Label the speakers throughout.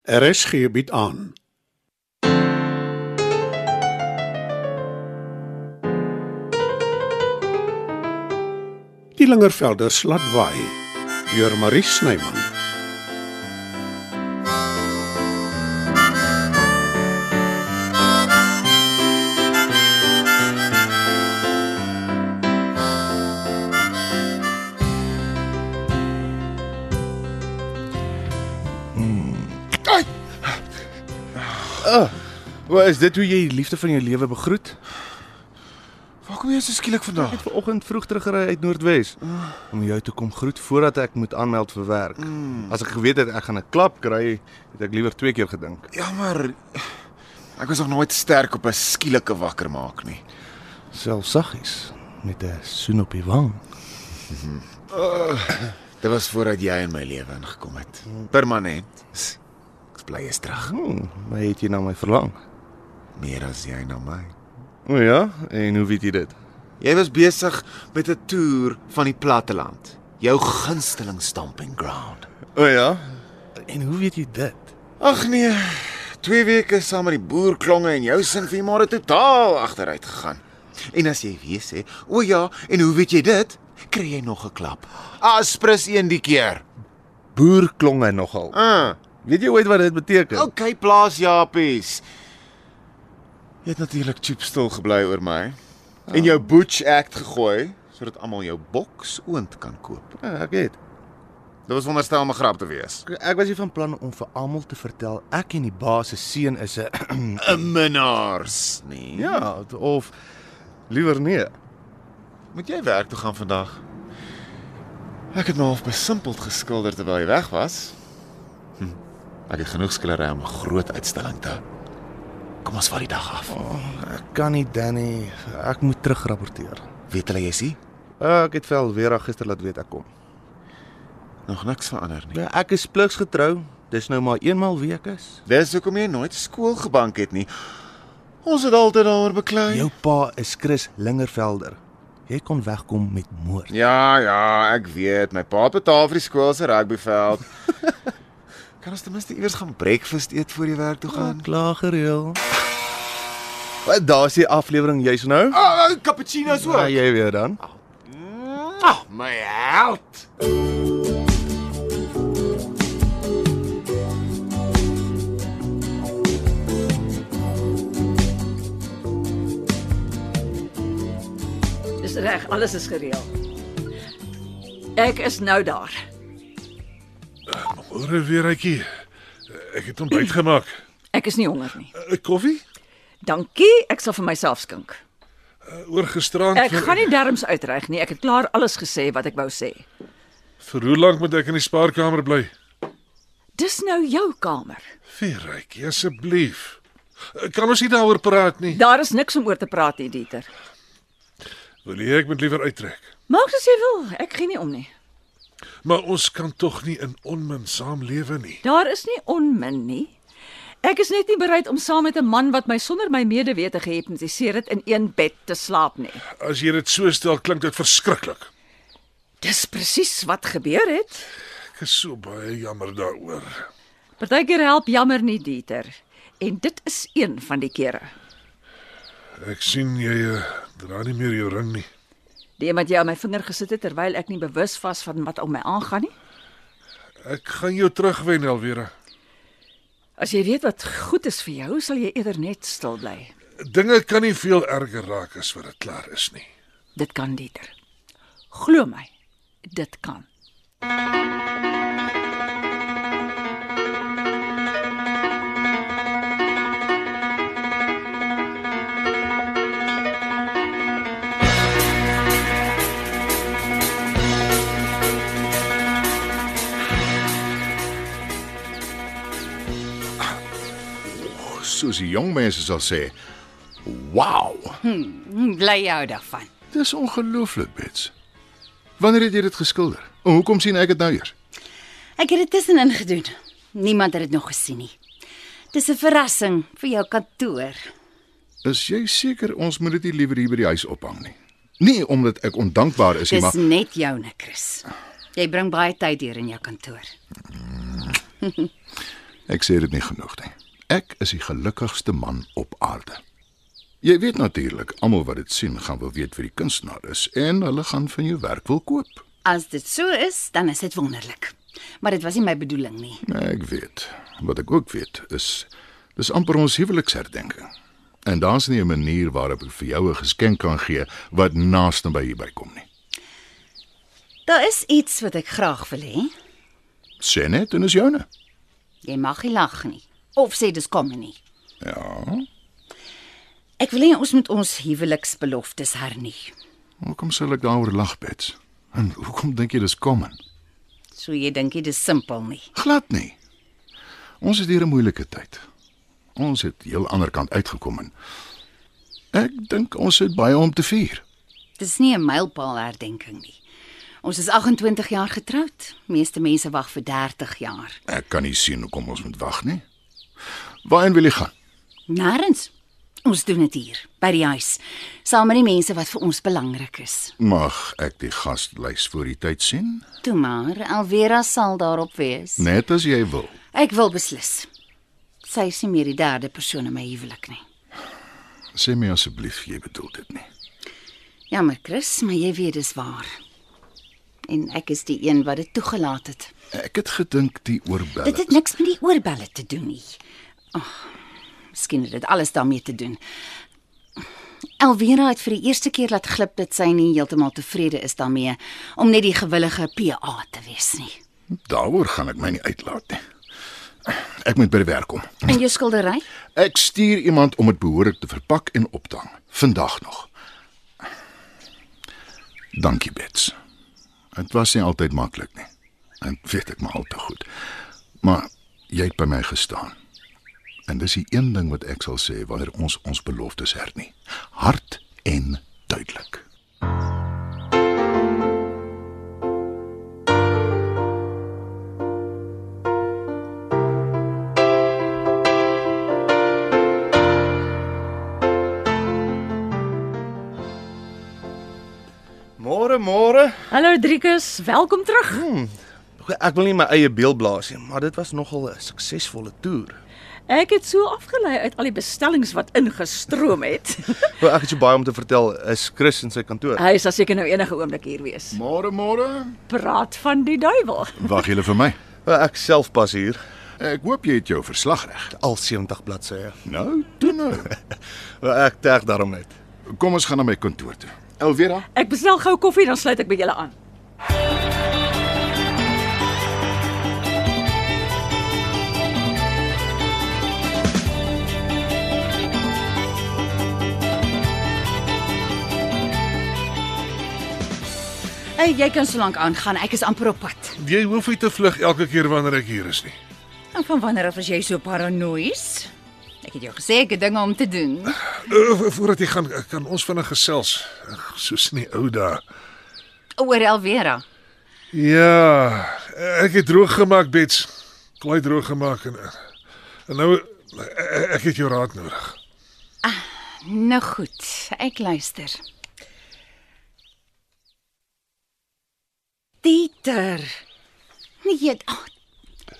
Speaker 1: Er is gebied aan. Die Lingervelde slatwaai deur Marie Snyman.
Speaker 2: Ai. Ah. Wat is dit hoe jy die liefde van jou lewe begroet?
Speaker 3: Waar kom jy so skielik
Speaker 2: Ek
Speaker 3: vandag?
Speaker 2: het vanoggend vroeg teruggery uit Noordwes om jou te kom groet voordat ek moet aanmeld vir werk. As ek geweet het ek gaan 'n klap kry, het ek liewer twee keer gedink.
Speaker 3: Jammer. Ja, Ek was nog nooit sterk op 'n skielike wakker maak nie.
Speaker 2: Selfs saggies met 'n soen op die wang.
Speaker 3: Dit was voordat jy in my lewe ingekom het. Permanent. S- Ek's bly jy's terug.
Speaker 2: Hmm, maar het jy na my verlang?
Speaker 3: Meer as jy na my.
Speaker 2: O ja, en hoe weet jy dit?
Speaker 3: Jy was besig met 'n toer van die platteland. Jou gunsteling stomping ground.
Speaker 2: O ja. En hoe weet jy dit?
Speaker 3: Ag nee. 2 weke saam met die boerklonge en jou sin vir môre totaal agteruit gegaan. En as jy weer sê, "O ja, en hoe weet jy dit?" kry jy nog 'n klap. Aspris een die keer.
Speaker 2: Boer klonge nogal.
Speaker 3: Ah.
Speaker 2: Weet jy ooit wat dit beteken?
Speaker 3: Okay, plaas Japies. Jy het natuurlik chip stil gebly oor my en jou butch act gegooi sodat almal jou boks oond kan koop.
Speaker 2: Ja, ek weet.
Speaker 3: Dit was wonderstel om 'n grap te wees.
Speaker 2: Ek was nie van plan om vir almal te vertel ek en die baas se seun is 'n
Speaker 3: 'n Minnaars, nee.
Speaker 2: Ja, of liewer nee.
Speaker 3: Moet jy werk toe gaan vandag? Ek het my half besimpeld geskilder terwyl jy weg was. Hm. Ek het genoeg skildery om 'n groot uitstalling te. hou. Kom ons vat die dag af.
Speaker 2: Ek kan nie Danny, ek moet terugrapporteer.
Speaker 3: Weet hulle jy's hier?
Speaker 2: Eh, Ek het wel weer gister laat weet ek kom.
Speaker 3: Nog niks verander nie.
Speaker 2: Ja, ek is pliks getrou. Dis nou maar eenmal week is.
Speaker 3: Dis hoekom jy nooit skool gebank het nie. Ons het altyd daaroor beklei.
Speaker 2: Jou pa is Chris Lingervelder. Jy kon wegkom met moord.
Speaker 3: Ja, ja, ek weet. My pa het betaal vir die skool se rugbyveld. kan ons ten minste iewers gaan breakfast eet voor jy werk toe gaan?
Speaker 2: klaar gereël. Wat daar's die aflewering jy's nou?
Speaker 3: Ah, oh, cappuccino so.
Speaker 2: Ja, jy weer dan.
Speaker 3: Ah, my held.
Speaker 4: Dis reg, alles is gereël. Ek is nou daar.
Speaker 5: Hoor weer Rykie. Ek het ontbyt gemaak.
Speaker 4: Ek is nie honger nie.
Speaker 5: Eh, Koffie?
Speaker 4: Dankie, ek sal vir myself skink.
Speaker 5: Eh, Oor gisterand.
Speaker 4: Ek gaan nie derms uitreig nie. Ek het klaar alles gesê wat ek wou sê.
Speaker 5: Vir hoe lank moet ek in die spaarkamer bly?
Speaker 4: Dis nou jou kamer.
Speaker 5: Vir Rykie asseblief. Eh, Kan ons nie daaroor praat nie?
Speaker 4: Daar is niks om oor te praat nie, Dieter.
Speaker 5: Wil jy ek moet liewer uittrek?
Speaker 4: Maak soos jy wil, ek gee nie om nie.
Speaker 5: Maar ons kan tog nie in onmin saamlewe nie.
Speaker 4: Daar is nie onmin nie. Ek is net nie bereid om saam met 'n man wat my sonder my medewete gehipnotiseer het in een bed te slaap nie.
Speaker 5: As jy dit so stel, klink dit verskriklik.
Speaker 4: Dis presies wat gebeur het.
Speaker 5: Ek is so baie jammer daaroor.
Speaker 4: Partykeer help jammer nie Dieter en dit is een van die kere.
Speaker 5: Ek sien jy eh, dra nie meer jou ring nie.
Speaker 4: Die een wat jy aan my vinger gesit het terwyl ek nie bewus was van wat om my aangaan nie.
Speaker 5: Ek gaan jou terugwen alweer.
Speaker 4: As jy weet wat goed is vir jou, sal jy eerder net stil bly.
Speaker 5: Dinge kan nie veel erger raak as wat dit klaar is nie.
Speaker 4: Dit kan Dieter. Glo my, dit kan.
Speaker 6: soos die jong mense sal sê, wow.
Speaker 7: Hm, Bly jou daarvan.
Speaker 6: Dis ongelooflik, Bets. Wanneer het jy dit geskilder? En hoekom sien ek dit nou eers?
Speaker 7: Ek het dit tussenin gedoen. Niemand het dit nog gesien nie. Dis 'n verrassing vir jou kantoor.
Speaker 6: Is jy seker ons moet dit nie liewer hier by die huis ophang nie? Nie omdat ek ondankbaar is nie,
Speaker 7: Dis
Speaker 6: maar
Speaker 7: net joune, Chris. Jy bring baie tyd hier in jou kantoor.
Speaker 6: Ek sê dit nie genoeg nie. Ek is die gelukkigste man op aarde. Jy weet natuurlik, almal wat dit sien gaan wil weet wie die kunstenaar is en hulle gaan van jou werk wil koop.
Speaker 7: As dit so is, dan is dit wonderlik. Maar dit was nie my bedoeling nie.
Speaker 6: Nou, Ek weet. Wat ek ook weet is dis amper ons huweliksherdenking. En daar's nie 'n manier waarop ek vir jou 'n geskenk kan gee wat naaste by hierby kom nie.
Speaker 7: Daar is iets wat ek graag wil hê.
Speaker 6: Sê net en is joune.
Speaker 7: Jy mag nie lag nie of sê dis kom nie.
Speaker 6: Ja.
Speaker 7: Ek wil hê ons moet ons huweliksbeloftes hernie.
Speaker 6: Hoekom sal ek daaroor lag, Bets? En hoekom dink jy dis kom?
Speaker 7: So jy dink dit is simpel nie.
Speaker 6: Glad nie. Ons is deur 'n moeilike tyd. Ons het heel ander kant uitgekom en ek dink ons het baie om te vier.
Speaker 7: Dis nie 'n mylpaal herdenking nie. Ons is 28 jaar getroud. Meeste mense wag vir 30 jaar.
Speaker 6: Ek kan nie sien hoekom ons moet wag nie. Waarheen wil jy gaan?
Speaker 7: Nêrens. Ons doen dit hier by die huis, saam met die mense wat vir ons belangrik is.
Speaker 6: Mag ek die gaslys voor die tyd sien?
Speaker 7: Toe maar, Alvera sal daarop wees.
Speaker 6: Net as jy wil.
Speaker 7: Ek wil beslis. Sy is nie meer die derde persoon in my huwelik nie.
Speaker 6: Sê my asseblief jy bedoel dit nie.
Speaker 7: Jammer, Chris, maar jy weet dis waar. En ek is die een wat dit toegelaat het.
Speaker 6: Ek het gedink die
Speaker 7: Dit het
Speaker 6: oorbel.
Speaker 7: niks met die oorbelle te doen nie. Ag, oh, miskien het dit alles daarmee te doen. Elvira het vir die eerste keer laat glip dat sy nie heeltemal tevrede is daarmee om net die gewillige PA te wees nie.
Speaker 6: Daaroor gaan ek my nie uitlaat nie. Ek moet by die werk kom.
Speaker 7: En jou skildery?
Speaker 6: Ek stuur iemand om dit behoorlik te verpak en op te hang. Vandag nog. Dankie Bets. Dit was nie altyd maklik nie. En weet ek maar al te goed. Maar jy het by my gestaan. En dis die een ding wat ek sal sê wanneer ons ons beloftes hernie. Hard en duidelik.
Speaker 2: Môre, môre.
Speaker 4: Hallo Driekus, welkom terug.
Speaker 2: Ek wil nie my eie beeld blaas nie, maar dit was nogal 'n suksesvolle toer.
Speaker 4: Ek het so afgelei uit al die bestellings wat ingestroom het.
Speaker 2: Wel, ek het so baie om te vertel. Is Chris in sy kantoor?
Speaker 4: Hy sal seker nou enige oomblik hier wees.
Speaker 6: Môre môre.
Speaker 4: Praat van die duiwel.
Speaker 6: Wag julle vir my.
Speaker 2: Wel, ek self pas hier,
Speaker 6: Ek hoop jy het jou verslag reg.
Speaker 2: al 70 bladsye.
Speaker 6: Nou, toe nou.
Speaker 2: Wel, ek terg daarom net.
Speaker 6: Kom ons gaan na my kantoor toe. Elvira,
Speaker 4: Ek bestel gou koffie dan sluit ek by julle aan.
Speaker 7: Hey, jy kan so lank aangaan. Ek is amper op pad.
Speaker 5: Jy hoef nie te vlug elke keer wanneer ek hier is nie.
Speaker 7: En Nou, van wanneer af is jy so paranoïes? Ek het jou gesê ek het dinge om te doen.
Speaker 5: Uh, vo- voordat jy gaan, eh, kan ons vinnig gesels. Ag, soos in die ou dae.
Speaker 7: Oor Elvera.
Speaker 5: Ja, ek het droog gemaak, Bets. Klaai droog gemaak en en nou eh, ek het jou raad nodig.
Speaker 7: Nou goed, ek luister. Dieter. Nee, oh,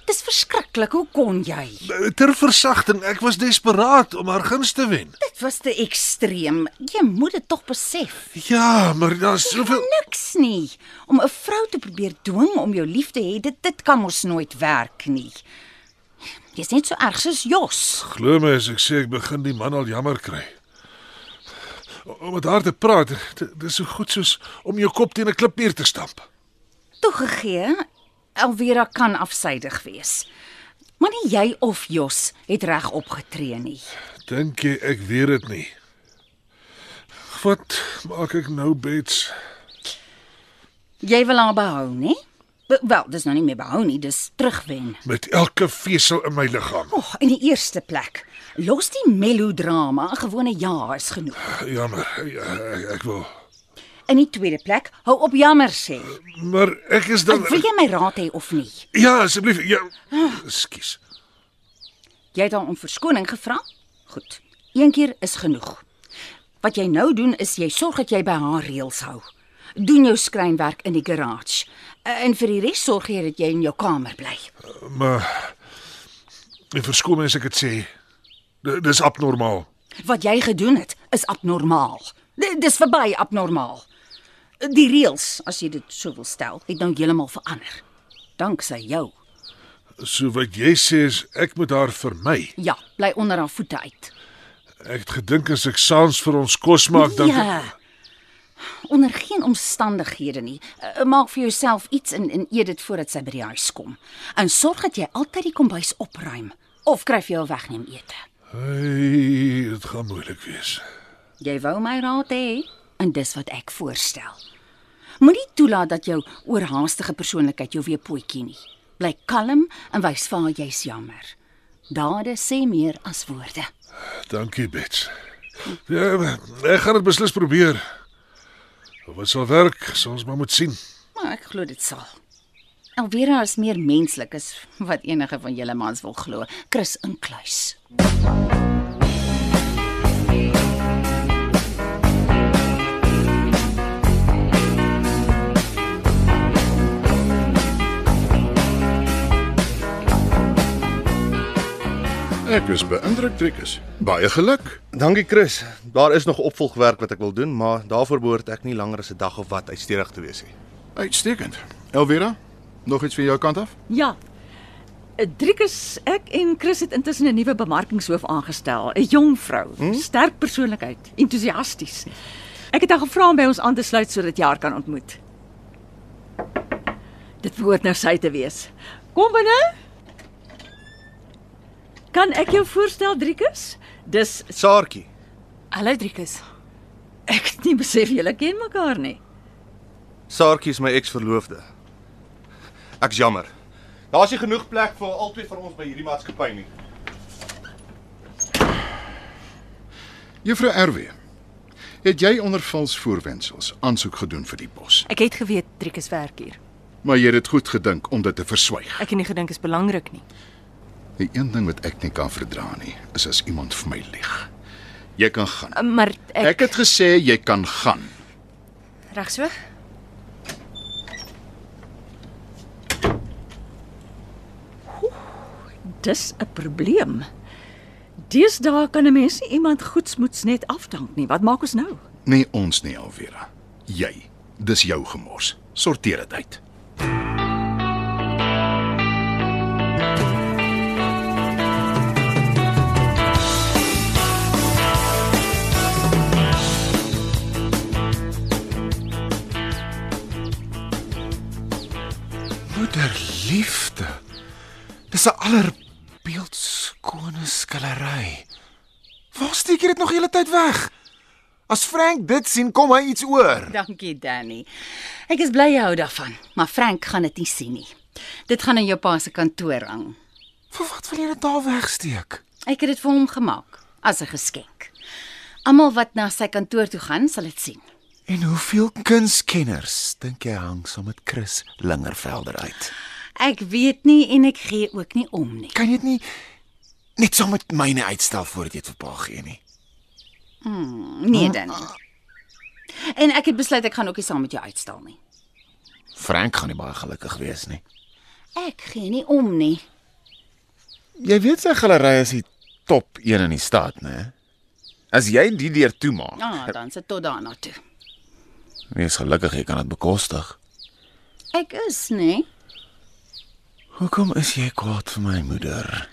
Speaker 7: dis verskriklik. Hoe kon jy?
Speaker 5: Eh, Ter versagting, ek was desperaat om haar guns te wen.
Speaker 7: Dit was te ekstreem. Jy moet dit tog besef.
Speaker 5: Ja, maar daar's soveel
Speaker 7: Niks nie. Om 'n vrou te probeer dwing om jou lief te hê, dit dit kan mos nooit werk nie. Jy's net so erg soos Jos.
Speaker 5: Glo my as ek sê ek begin die man al jammer kry. O- Om met haar te praat, d- dis so goed soos om jou kop teen 'n klipmuur te stamp.
Speaker 7: Toegegee, Elvira kan afsydig wees. Maar nie jy of Jos het reg opgetree nie.
Speaker 5: Dink jy ek weet dit nie? Wat maak ek nou, Bets?
Speaker 7: Jy wil haar behou, né? Wel, Wel, dis nou nie meer behou nie, dis terugwen.
Speaker 5: Met elke vesel in my liggaam.
Speaker 7: O, oh, in die eerste plek, los die melodrama, 'n gewone ja is genoeg.
Speaker 5: Jammer, ja, ek, ek wil.
Speaker 7: In die tweede plek, hou op jammer sê.
Speaker 5: Maar ek is dan
Speaker 7: Ek wil jy my raad hê of nie?
Speaker 5: Ja, asseblief. Ja. Ekskuus.
Speaker 7: Jy het haar om verskoning gevra? Goed. Een keer is genoeg. Wat jy nou doen is jy sorg dat jy by haar reëls hou. Doen jou skrynwerk in die Eh, garage. En vir die res sorg jy dat jy in jou kamer bly.
Speaker 5: Maar En verskoon my as ek dit sê. D- Dis abnormaal.
Speaker 7: Wat jy gedoen het is abnormaal. D- Dis verby abnormaal. Die reëls, as jy dit so wil stel, het nou heeltemal verander. Danksy jou.
Speaker 5: So wat jy sê is ek moet haar vermy.
Speaker 7: Ja, bly onder haar voete uit.
Speaker 5: Ek het gedink as ek saans vir ons kos maak dan
Speaker 7: Ja. Onder geen omstandighede nie. Eh, Maak vir jouself iets in en eet dit voordat sy by die huis kom. En sorg dat jy altyd die kombuis opruim of kry vir jou wegneem ete.
Speaker 5: Hey, dit gaan moeilik wees.
Speaker 7: Jy wou my raad hê en dis wat ek voorstel. Moenie toelaat dat jou oorhaastige persoonlikheid jou weer potjie nie. Bly kalm en wys vir haar jy's jammer. Dade sê meer as woorde.
Speaker 5: Dankie, Bets. Ja, ek gaan dit beslis probeer. Of dit sal werk, sal ons maar moet sien.
Speaker 7: Maar ek glo dit sal. Elvira is meer menslik as wat enige van julle mans wil glo, Chris inkluis.
Speaker 6: Ek is beïndruk, Trikus. Baie geluk.
Speaker 2: Dankie Chris. Daar is nog opvolgwerk wat ek wil doen, maar daarvoor behoort ek nie langer as 'n dag of wat uitstedig te wees nie.
Speaker 6: Uitstekend. Elvira, nog iets van jou kant af?
Speaker 4: Ja. Eh, Driekus, ek en Chris het intussen 'n nuwe bemarkingshoof aangestel, 'n jong vrou, sterk persoonlikheid, entoesiasties. Ek het haar gevra om by ons aan te sluit sodat jy haar kan ontmoet. Dit behoort nou sy te wees. Kom binne. Kan ek jou voorstel, Driekus? Dis
Speaker 2: Saartjie,
Speaker 8: Hallo Driekus.
Speaker 4: ek het nie besef julle ken mekaar nie.
Speaker 2: Saartjie is my eksverloofde. Ek's jammer. Daar's nie genoeg plek vir albei van ons by hierdie maatskappy nie.
Speaker 6: Juffrou RW, het jy onder vals voorwendsels aansoek gedoen vir die pos?
Speaker 8: Ek het geweet Driekus werk hier.
Speaker 6: Maar jy het dit goed gedink om dit te verswyg.
Speaker 8: Ek het nie gedink is belangrik nie.
Speaker 6: Die een ding wat ek nie kan verdra nie, is as iemand vir my lieg. Jy kan gaan.
Speaker 8: Uh, Maar
Speaker 6: Ek,
Speaker 8: ek,
Speaker 6: ek het gesê jy kan gaan.
Speaker 8: reg so.
Speaker 4: Dis 'n probleem. Deesdae kan 'n mens nie iemand goedsmoeds net afdank nie. Wat maak ons nou?
Speaker 6: Nee, ons nie, Alvera. Jy, dis jou gemors. Sorteer dit uit.
Speaker 3: Moederliefde. Dis 'n allerbeeldskone skillery. Waar steek jy dit nog hele tyd weg? As Frank dit sien, kom hy iets oor.
Speaker 7: Dankie Danny. Ek is bly jy hou daarvan, maar Frank gaan dit nie sien nie. Dit gaan in jou pa se kantoor hang.
Speaker 3: Vir wat wil jy dit daar wegsteek?
Speaker 7: Ek het dit vir hom gemaak as 'n geskenk. Almal wat na sy kantoor toe gaan, sal dit sien.
Speaker 3: En hoeveel kunskenners dink jy hang saam met Chris Lingervelder uit?
Speaker 7: Ek weet nie en ek gee ook nie om nie.
Speaker 3: Kan jy dit nie net saam met myne uitstel voordat jy dit vir pa gee nie?
Speaker 7: Nee Danny. En ek het besluit ek gaan ook nie saam met jou uitstal nie.
Speaker 3: Frank gaan nie baie gelukkig wees nie.
Speaker 7: Ek gee nie om nie.
Speaker 3: Jy weet sy galery is die top 1 in die stad, né? As jy die deur toemaak,
Speaker 7: Ja, ah, dan se tot daarna toe.
Speaker 3: wees gelukkig jy kan dit bekostig.
Speaker 7: Ek is, nee.
Speaker 3: Hoekom is jy kwaad vir my moeder?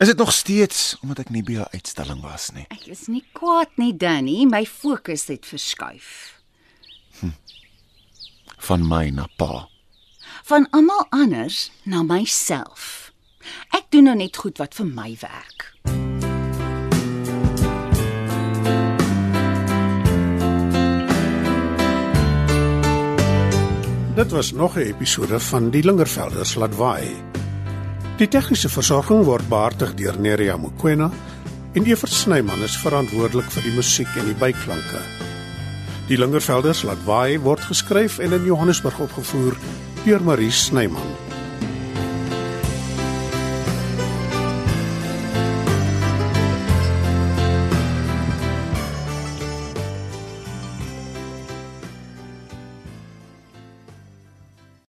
Speaker 3: Is dit nog steeds omdat ek nie by haar uitstalling was nie?
Speaker 7: Ek is nie kwaad nie, Danny. My fokus het verskuif.
Speaker 3: Van my na pa.
Speaker 7: Van almal anders na myself. Ek doen nou net goed wat vir my werk.
Speaker 1: Dit was nog 'n episode van Die Lingervelders laat waai. Die tegniese versorging word behartig deur Neriya Mukwena en Evert Snyman is verantwoordelik vir die musiek en die byklanke. Die Lingervelders laat waai word geskryf en in Johannesburg opgevoer deur Marie Snyman.